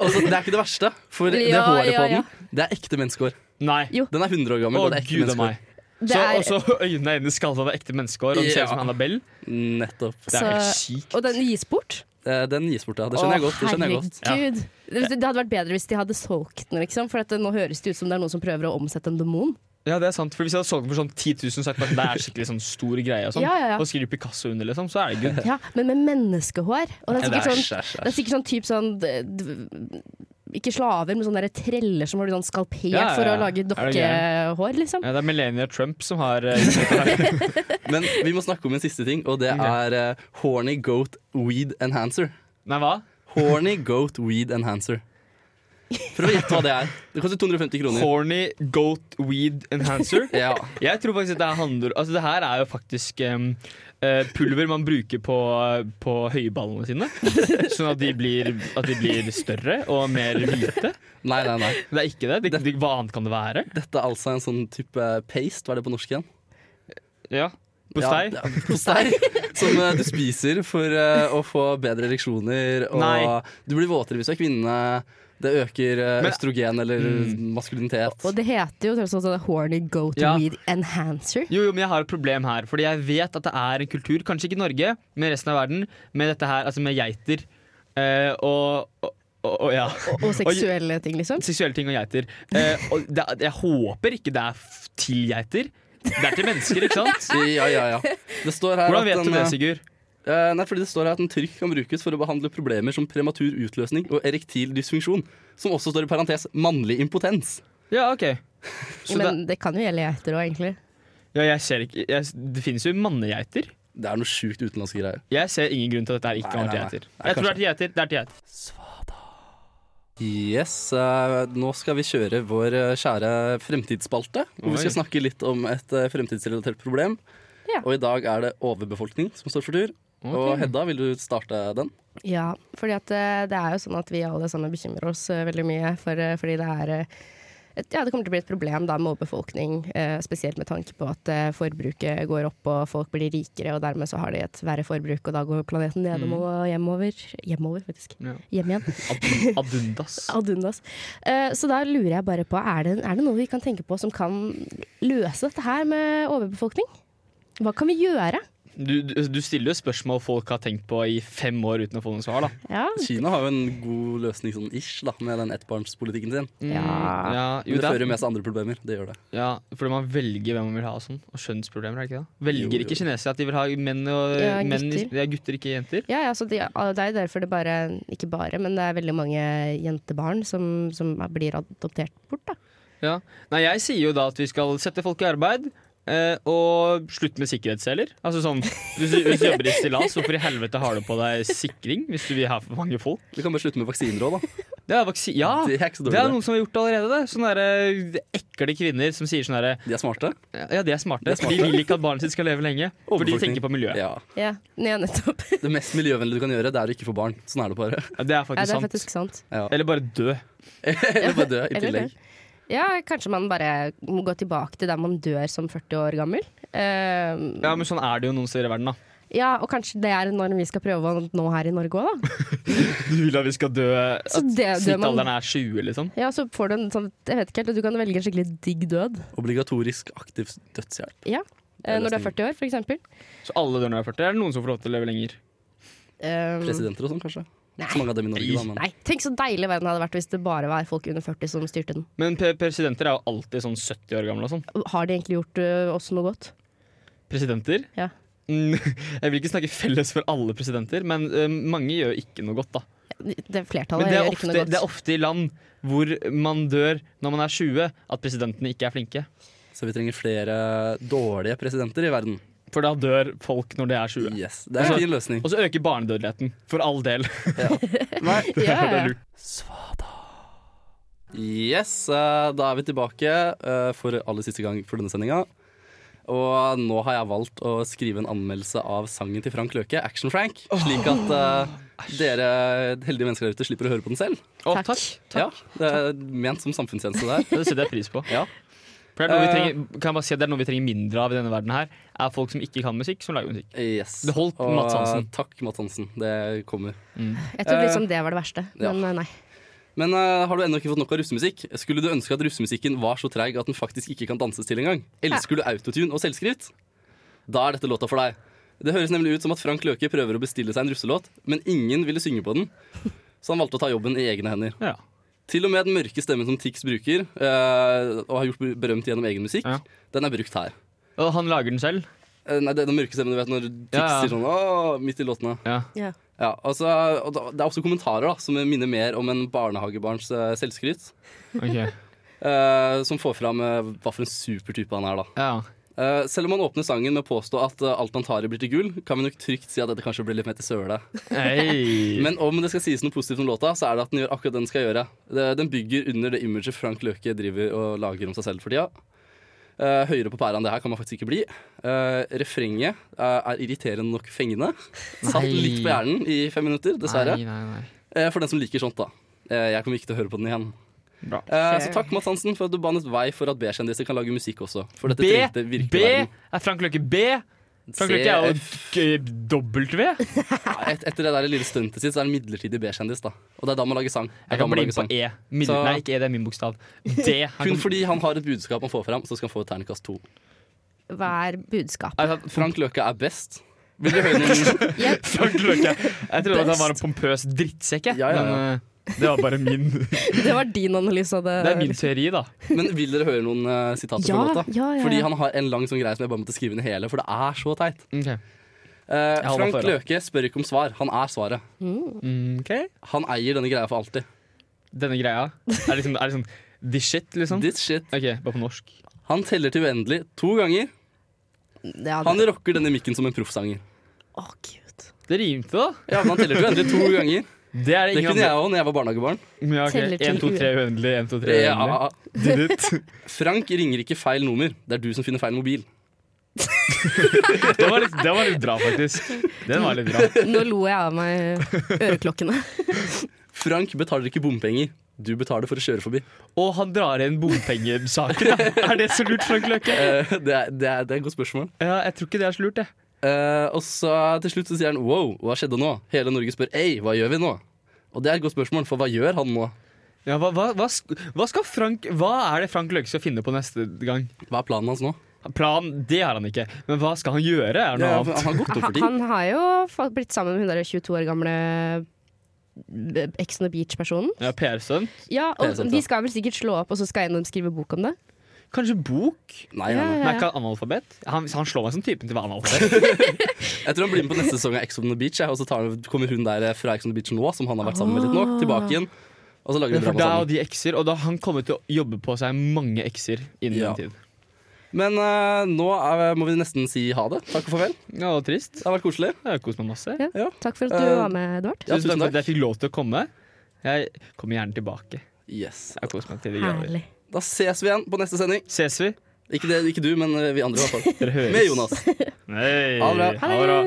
Speaker 4: Og så, det er ikke det verste, for det
Speaker 6: Ja,
Speaker 4: håret
Speaker 6: ja,
Speaker 4: på
Speaker 6: ja.
Speaker 4: den, det er ekte menneskehår.
Speaker 5: Nei!
Speaker 6: Jo.
Speaker 4: Den er 100 år
Speaker 5: Å,
Speaker 4: gammel, og det er ekte
Speaker 5: gud a meg.
Speaker 4: menneskehår.
Speaker 6: det
Speaker 5: Så,
Speaker 6: er-
Speaker 5: og så øynene er inni skallen av ekte menneskehår, og den ser ut som
Speaker 4: Ja.
Speaker 5: Annabelle.
Speaker 4: Nettopp.
Speaker 5: Det er
Speaker 6: Så-
Speaker 5: helt sykt.
Speaker 6: og den gis bort.
Speaker 4: Eh, Den gis bort, ja. Det skjønner jeg godt. Det skjønner jeg godt.
Speaker 6: Herregud. Det, det hadde vært bedre hvis de hadde solgt den, liksom. For at det, nå høres det ut som det er noen som prøver å omsette en demon.
Speaker 5: Ja, det er sant. For Hvis jeg hadde solgt den for sånn 10 000, så hadde jeg sagt at det er skikkelig sånn stor greie. Og sånn
Speaker 6: Ja, ja, ja.
Speaker 5: Og skriver Picasso under, liksom, så er det good.
Speaker 6: Ja, men med menneskehår. Og det er sikkert
Speaker 4: Æsj,
Speaker 6: sånn,
Speaker 4: æsj,
Speaker 6: det er
Speaker 4: æsj.
Speaker 6: sikkert sånn typ sånn d- d- Ikke slaver, men sånne der treller som har sånn skalpel
Speaker 5: Ja, ja, ja.
Speaker 6: for å lage
Speaker 5: Er det gøy?
Speaker 6: dokkehår, liksom.
Speaker 5: Ja, det er Melania Trump som har eh,
Speaker 4: Men vi må snakke om en siste ting, og det er eh, horny goat weed enhancer.
Speaker 5: Nei, hva?
Speaker 4: Horny goat weed enhancer. Prøv å gjette hva det er. Det koster 250 kroner.
Speaker 5: Horny goat weed enhancer.
Speaker 4: Ja.
Speaker 5: Jeg tror faktisk at det her handler Altså det her er jo faktisk em, eh, pulver man bruker på, på høyballene sine. Sånn at de, blir, at de blir større og mer hvite.
Speaker 4: Nei, nei, nei.
Speaker 5: Det er ikke det. det, det hva annet kan det være?
Speaker 4: Dette er altså en sånn type paste, hva er det på norsk igjen?
Speaker 5: Ja. Postei?
Speaker 4: Ja, det er postei som eh, du spiser for eh, å få bedre ereksjoner. Og
Speaker 5: Nei.
Speaker 4: du blir våtere hvis du er kvinne. Det øker eh,
Speaker 5: Men- Mm.
Speaker 4: østrogen eller maskulinitet.
Speaker 6: Og det heter jo tross alt sånn horny go to
Speaker 5: Ja.
Speaker 6: weed enhancer.
Speaker 5: Jo, jo, men jeg har et problem her. Fordi jeg vet at det er en kultur, kanskje ikke i Norge, men i resten av verden, med dette her, altså med geiter eh, og, og, og, og ja.
Speaker 6: Og, og seksuelle ting, liksom.
Speaker 5: Seksuelle ting og geiter. Eh, og det, er- jeg håper ikke det er f- til geiter. Det er til mennesker, ikke sant?
Speaker 4: Ja, ja, ja. Det står her
Speaker 5: Hvordan
Speaker 4: at
Speaker 5: vet du
Speaker 4: den,
Speaker 5: det,
Speaker 4: eh,
Speaker 5: Sigurd?
Speaker 4: Eh, nei, fordi Det står her at en trykk kan brukes for å behandle problemer som prematur utløsning og erektil dysfunksjon. Som også står i parentes mannlig impotens.
Speaker 5: Ja, OK. Så
Speaker 6: Men det kan jo gjelde geiter òg, egentlig.
Speaker 5: det, ja, jeg ser ikke jeg, Det finnes jo mannegeiter.
Speaker 4: Det er noe sjukt utenlandske greier.
Speaker 5: Jeg ser ingen grunn til at dette her ikke
Speaker 4: Nei,
Speaker 5: har vært
Speaker 4: nei, nei.
Speaker 5: geiter.
Speaker 4: Nei,
Speaker 5: Jeg tror det
Speaker 4: kanskje.
Speaker 5: er til geiter. Det er til geiter.
Speaker 4: Yes, eh, Nå skal vi kjøre vår eh, kjære fremtidsspalte. Hvor vi
Speaker 5: Oi.
Speaker 4: skal snakke litt om et eh, fremtidsrelatert problem.
Speaker 6: Ja.
Speaker 4: Og i dag er det overbefolkning som står for tur. Og Hedda, vil du starte den?
Speaker 6: Ja, fordi at eh, det er jo sånn at vi alle sammen bekymrer oss eh, veldig mye, for, eh, fordi det er eh, et, ja, det kommer til å bli et problem da, med overbefolkning, eh, spesielt med tanke på at eh, forbruket går opp og folk blir rikere, og dermed så har de et verre forbruk, og da går planeten nedover og hjemover. Hjemover, faktisk.
Speaker 5: Ja.
Speaker 6: Hjem igjen.
Speaker 5: Ad- Adundas.
Speaker 6: Adundas. Eh, Så da lurer jeg bare på, er det, er det noe vi kan tenke på som kan løse dette her med overbefolkning? Hva kan vi gjøre?
Speaker 5: Du, du, du stiller jo spørsmål folk har tenkt på i fem år uten å få noe svar, da.
Speaker 6: Ja,
Speaker 4: Kina har jo en god løsning sånn ish da, med den ettbarnspolitikken sin.
Speaker 6: Ja.
Speaker 5: ja,
Speaker 4: Mm. Men
Speaker 5: jo,
Speaker 4: det
Speaker 5: det er-
Speaker 4: fører jo med seg andre problemer. det gjør det.
Speaker 5: Ja, fordi man velger hvem man vil ha og sånn. Og skjønnsproblemer, er det ikke det? Velger
Speaker 4: Jo, jo.
Speaker 5: ikke kinesere at de vil ha menn og
Speaker 6: Ja,
Speaker 5: menn, i-
Speaker 6: gutter.
Speaker 5: Ja, gutter, ikke jenter?
Speaker 6: Ja, ja så de, det er jo derfor det bare, ikke bare, men det er veldig mange jentebarn som, som blir adoptert bort. Da.
Speaker 5: Ja. Nei, jeg sier jo da at vi skal sette folk i arbeid. Eh, og slutt med sikkerhetsseler. Altså sånn, hvis, du- hvis du jobber i stillas, hvorfor i helvete har du på deg sikring hvis du vil ha for mange folk?
Speaker 4: Vi kan bare slutte med vaksiner òg, da.
Speaker 5: Det er, vaksi ja, det
Speaker 4: Det er ikke så dårlig.
Speaker 5: er noen som har gjort det allerede. Det. Sånne der, eh, ekle kvinner som sier sånn herre
Speaker 4: De er smarte.
Speaker 5: Ja, de er smarte.
Speaker 4: De er smarte.
Speaker 5: De vil ikke at barnet sitt skal leve lenge. For de
Speaker 4: Overbefolkning.
Speaker 5: tenker på miljøet. Ja.
Speaker 4: Ja.
Speaker 6: Ja, ja nettopp.
Speaker 4: Det mest miljøvennlige du kan gjøre, det er å ikke få barn. Sånn er det bare.
Speaker 5: det er
Speaker 6: Ja,
Speaker 5: faktisk
Speaker 6: det er
Speaker 5: sant.
Speaker 6: faktisk sant.
Speaker 5: Eller bare dø.
Speaker 4: Eller bare dø i
Speaker 6: Eller
Speaker 4: tillegg.
Speaker 6: det. Ja, kanskje man bare må gå tilbake til der man dør som 40 år gammel. Eh,
Speaker 5: Ja, men sånn er det jo noen steder i verden, da.
Speaker 6: ja, og kanskje det er når vi skal prøve å nå her i Norge òg, da.
Speaker 5: Du vil at vi skal dø At
Speaker 6: Så det- dør man-
Speaker 5: snittalderen er 20, liksom?
Speaker 6: Ja, så får du en sånn Jeg vet ikke helt, du kan velge en skikkelig digg død
Speaker 4: Obligatorisk aktiv dødshjelp.
Speaker 6: Ja, eh,
Speaker 4: er
Speaker 6: når du er
Speaker 4: løsningen.
Speaker 6: 40 år, for eksempel.
Speaker 5: Så alle dør når de er 40? Er det noen som får lov til å leve lenger?
Speaker 6: Um,
Speaker 4: Presidenter og sånn, kanskje.
Speaker 6: Nei.
Speaker 4: Ikke så mange av dem i Norge, da. Men.
Speaker 6: Nei, tenk så deilig verden hadde vært hvis det bare var folk under 40 som styrte den.
Speaker 5: Men pre- presidenter er jo alltid sånn 70 år gamle og sånn.
Speaker 6: Har de egentlig gjort ø, oss noe godt?
Speaker 5: Presidenter?
Speaker 6: Ja.
Speaker 5: Mm, jeg vil ikke snakke felles for alle presidenter, men eh, mange gjør ikke noe godt, da.
Speaker 6: Det
Speaker 5: Men
Speaker 6: flertallet
Speaker 5: det er,
Speaker 6: gjør ikke
Speaker 5: ofte,
Speaker 6: noe godt.
Speaker 5: det er ofte i land hvor man dør når man er 20, at presidentene ikke er flinke.
Speaker 4: Så vi trenger flere dårlige presidenter i verden.
Speaker 5: For da dør folk når de er 20.
Speaker 4: Yes, Det er en
Speaker 5: Altså-
Speaker 4: fin løsning.
Speaker 5: Og så øker barnedødeligheten, for all del.
Speaker 6: ja,
Speaker 5: Det
Speaker 6: ja,
Speaker 5: er
Speaker 6: ja.
Speaker 5: lurt.
Speaker 4: Yes, eh, da er vi tilbake eh, for aller siste gang for denne sendinga. Og nå har jeg valgt å skrive en anmeldelse av sangen til Frank Løke, Action Frank. Slik at eh, dere heldige mennesker der ute slipper å høre på den selv.
Speaker 5: Å,
Speaker 6: Takk.
Speaker 5: takk.
Speaker 4: Ja, det er ment som samfunnstjeneste der.
Speaker 5: Det setter jeg pris på.
Speaker 4: Ja.
Speaker 5: For det er, noe vi
Speaker 4: Eh.
Speaker 5: trenger, kan jeg bare si, at det er noe vi trenger mindre av i denne verden her. Er folk som ikke kan musikk, som lager musikk.
Speaker 4: Yes.
Speaker 5: Det holdt,
Speaker 4: Og, eh,
Speaker 5: Mads Hansen.
Speaker 4: Takk, Mads Hansen. Det kommer.
Speaker 6: Jeg trodde liksom det var det verste,
Speaker 4: ja.
Speaker 6: men ø, nei.
Speaker 4: Men eh, har du ennå ikke fått nok av russemusikk? Skulle du ønske at russemusikken var så treig at den faktisk ikke kan danses til engang? Elsker du autotune og selvskritt? Da er dette låta for deg. Det høres nemlig ut som at Frank Løke prøver å bestille seg en russelåt, men ingen ville synge på den, så han valgte å ta jobben i egne hender.
Speaker 5: Ja.
Speaker 4: Til og med den mørke stemmen som Tix bruker, eh, og har gjort berømt gjennom egen musikk,
Speaker 5: Ja.
Speaker 4: den er brukt her.
Speaker 5: Og han lager den selv.
Speaker 4: Eh, Nei, det er den mørke stemmen du vet når Tix
Speaker 5: Ja, ja.
Speaker 4: sier sånn Åh, midt i låtene.
Speaker 5: Ja.
Speaker 4: Ja, altså, og da- Det er også kommentarer da, som minner mer om en barnehagebarns eh, selvskryt. eh, som får fram eh, hva for en super type han er. da.
Speaker 5: ja.
Speaker 4: Eh, selv om han åpner sangen med å påstå at eh, alt han tar i, blir til gull, kan vi nok trygt si at dette kanskje blir litt mer til søle.
Speaker 5: Hey.
Speaker 4: Men om det skal sies noe positivt om låta, så er det at den gjør akkurat det den skal gjøre. Det- Den bygger under det imaget Frank Løke driver og lager om seg selv for tida. Eh, høyere på pæra enn det her kan man faktisk ikke bli. Eh, refrenget eh, er irriterende nok fengende. Satt
Speaker 5: Nei.
Speaker 4: litt på hjernen i fem minutter, dessverre.
Speaker 5: Nei, nei, nei.
Speaker 4: Eh, For den som liker sånt, da. Eh, Jeg kommer ikke til å høre på den igjen.
Speaker 5: Bra.
Speaker 4: Eh, Så takk, Mads Hansen, for at du banet vei for at B-kjendiser kan lage musikk også. For dette
Speaker 5: B,
Speaker 4: trengte virkelig
Speaker 5: B
Speaker 4: verden.
Speaker 5: er Frank Løkke B. Frankrike er jo g- W.
Speaker 4: Et, etter det der lille stuntet sitt, så er det midlertidig B-kjendis. da Og det er da man lager sang. Det er
Speaker 5: Jeg
Speaker 4: da
Speaker 5: kan
Speaker 4: man
Speaker 5: bli
Speaker 4: lager
Speaker 5: med på
Speaker 4: sang.
Speaker 5: E. Middel,
Speaker 4: Så-
Speaker 5: Nei, ikke E, det er min bokstav. D. Jeg
Speaker 4: Kun
Speaker 5: kan-
Speaker 4: fordi han har et budskap han får fram, så skal han få et terningkast to.
Speaker 6: Hva er budskapet?
Speaker 5: Jeg- jeg-
Speaker 4: Frank Løke er best. Vil du høre noen
Speaker 5: Frank Løkke. Jeg trodde at han var en pompøs drittsekk, jeg.
Speaker 4: Ja, ja, ja.
Speaker 5: men eh, det var bare min Det
Speaker 6: Det var din analyse av det.
Speaker 5: er min teori, da.
Speaker 4: Men vil dere høre noen eh, sitater
Speaker 6: Ja,
Speaker 4: fra låta?
Speaker 6: ja, ja,
Speaker 4: Fordi
Speaker 6: ja.
Speaker 4: han har en lang sånn greie som jeg bare måtte skrive ned hele, for det er så teit.
Speaker 5: Ok.
Speaker 4: Eh,
Speaker 5: holder
Speaker 4: Frank
Speaker 5: for, da.
Speaker 4: Løke spør ikke om svar, han er svaret.
Speaker 5: Mm,
Speaker 4: Han eier denne greia for alltid.
Speaker 5: Denne greia er liksom, er liksom This shit, liksom?
Speaker 4: This shit.
Speaker 5: Ok, bare på norsk.
Speaker 4: Han teller til uendelig to ganger.
Speaker 6: Ja,
Speaker 4: Han
Speaker 6: det-
Speaker 4: rocker denne mikken som en proffsanger.
Speaker 6: Å, Gud.
Speaker 5: Det rimte, da.
Speaker 4: Ja, men han teller til uendelig to ganger.
Speaker 5: Det er det
Speaker 4: Det
Speaker 5: ingen
Speaker 4: kunne jeg
Speaker 5: andre
Speaker 4: òg da jeg var barnehagebarn.
Speaker 5: ja, ok.
Speaker 6: Teller til
Speaker 5: En, to, tre, uendelig. En, to, tre, uendelig.
Speaker 4: Ja.
Speaker 5: Did it.
Speaker 4: Frank ringer ikke feil nummer. Det er du som finner feil mobil.
Speaker 5: Det var litt, det var litt bra, faktisk. Den var litt bra.
Speaker 6: Nå lo jeg av meg øreklokkene.
Speaker 4: Frank betaler ikke bompenger. Du betaler for å kjøre forbi.
Speaker 5: Og han drar inn bompengesaker. da. Er det så lurt, Frank Løkke?
Speaker 4: Eh, det, er, det, er, det er et godt spørsmål.
Speaker 5: Ja, jeg tror ikke det er så lurt, jeg.
Speaker 4: Eh, og så til slutt så sier han wow, hva skjedde nå? Hele Norge spør ei, hva gjør vi nå? Og det er et godt spørsmål, for hva gjør han nå?
Speaker 5: Ja, hva, hva, hva, sk- hva, skal Frank, hva er det Frank Løkke skal finne på neste gang?
Speaker 4: Hva er planen hans nå?
Speaker 5: Plan, det har han ikke. Men hva skal han gjøre? Er det noe
Speaker 4: Det er,
Speaker 5: annet?
Speaker 4: han har gått opp for ting.
Speaker 6: Han har jo fa- blitt sammen med hun der 22 år gamle b- Ex on the Beach-personen.
Speaker 5: Ja, PR-sønn?
Speaker 6: Ja,
Speaker 4: Det er
Speaker 6: og
Speaker 4: sant,
Speaker 6: De
Speaker 4: ja.
Speaker 6: skal vel sikkert slå opp, og så skal en av dem skrive bok om det.
Speaker 5: Kanskje bok?
Speaker 4: Nei, nei, nei.
Speaker 5: Men er ikke han analfabet? Han, han slår meg som typen til å være analfabet.
Speaker 4: Jeg tror han blir med på neste sesong av Ex on the Beach, jeg, og så tar, han- kommer hun der eh, fra Ex on the Beach nå, som han har vært sammen med litt nå, tilbake igjen. Og så lager de
Speaker 5: Ah. For
Speaker 4: drama
Speaker 5: da er jo
Speaker 4: sammen.
Speaker 5: de ekser, og da har han kommer til å jobbe på seg mange ekser innen
Speaker 4: Ja.
Speaker 5: den tid.
Speaker 4: Men eh, nå er, må vi nesten si ha det. Takk og farvel.
Speaker 5: Ja, og trist.
Speaker 4: Det har vært koselig.
Speaker 5: Jeg har kost meg masse.
Speaker 6: Ja.
Speaker 4: Ja.
Speaker 6: Takk for at du
Speaker 4: Eh,
Speaker 6: var med, Edvard.
Speaker 4: Ja,
Speaker 5: tusen
Speaker 4: tusen
Speaker 5: takk for at
Speaker 4: takk.
Speaker 5: jeg fikk lov til å komme. Jeg kommer gjerne tilbake.
Speaker 4: Yes.
Speaker 5: Jeg har kost meg til de grader.
Speaker 6: Herlig.
Speaker 4: Da ses vi igjen på neste sending.
Speaker 5: Ses vi?
Speaker 4: Ikke, det, ikke du, men eh, vi andre i hvert fall.
Speaker 5: Dere høres.
Speaker 4: Med Jonas.
Speaker 5: Hei.
Speaker 4: Ha det bra.
Speaker 6: Ha det!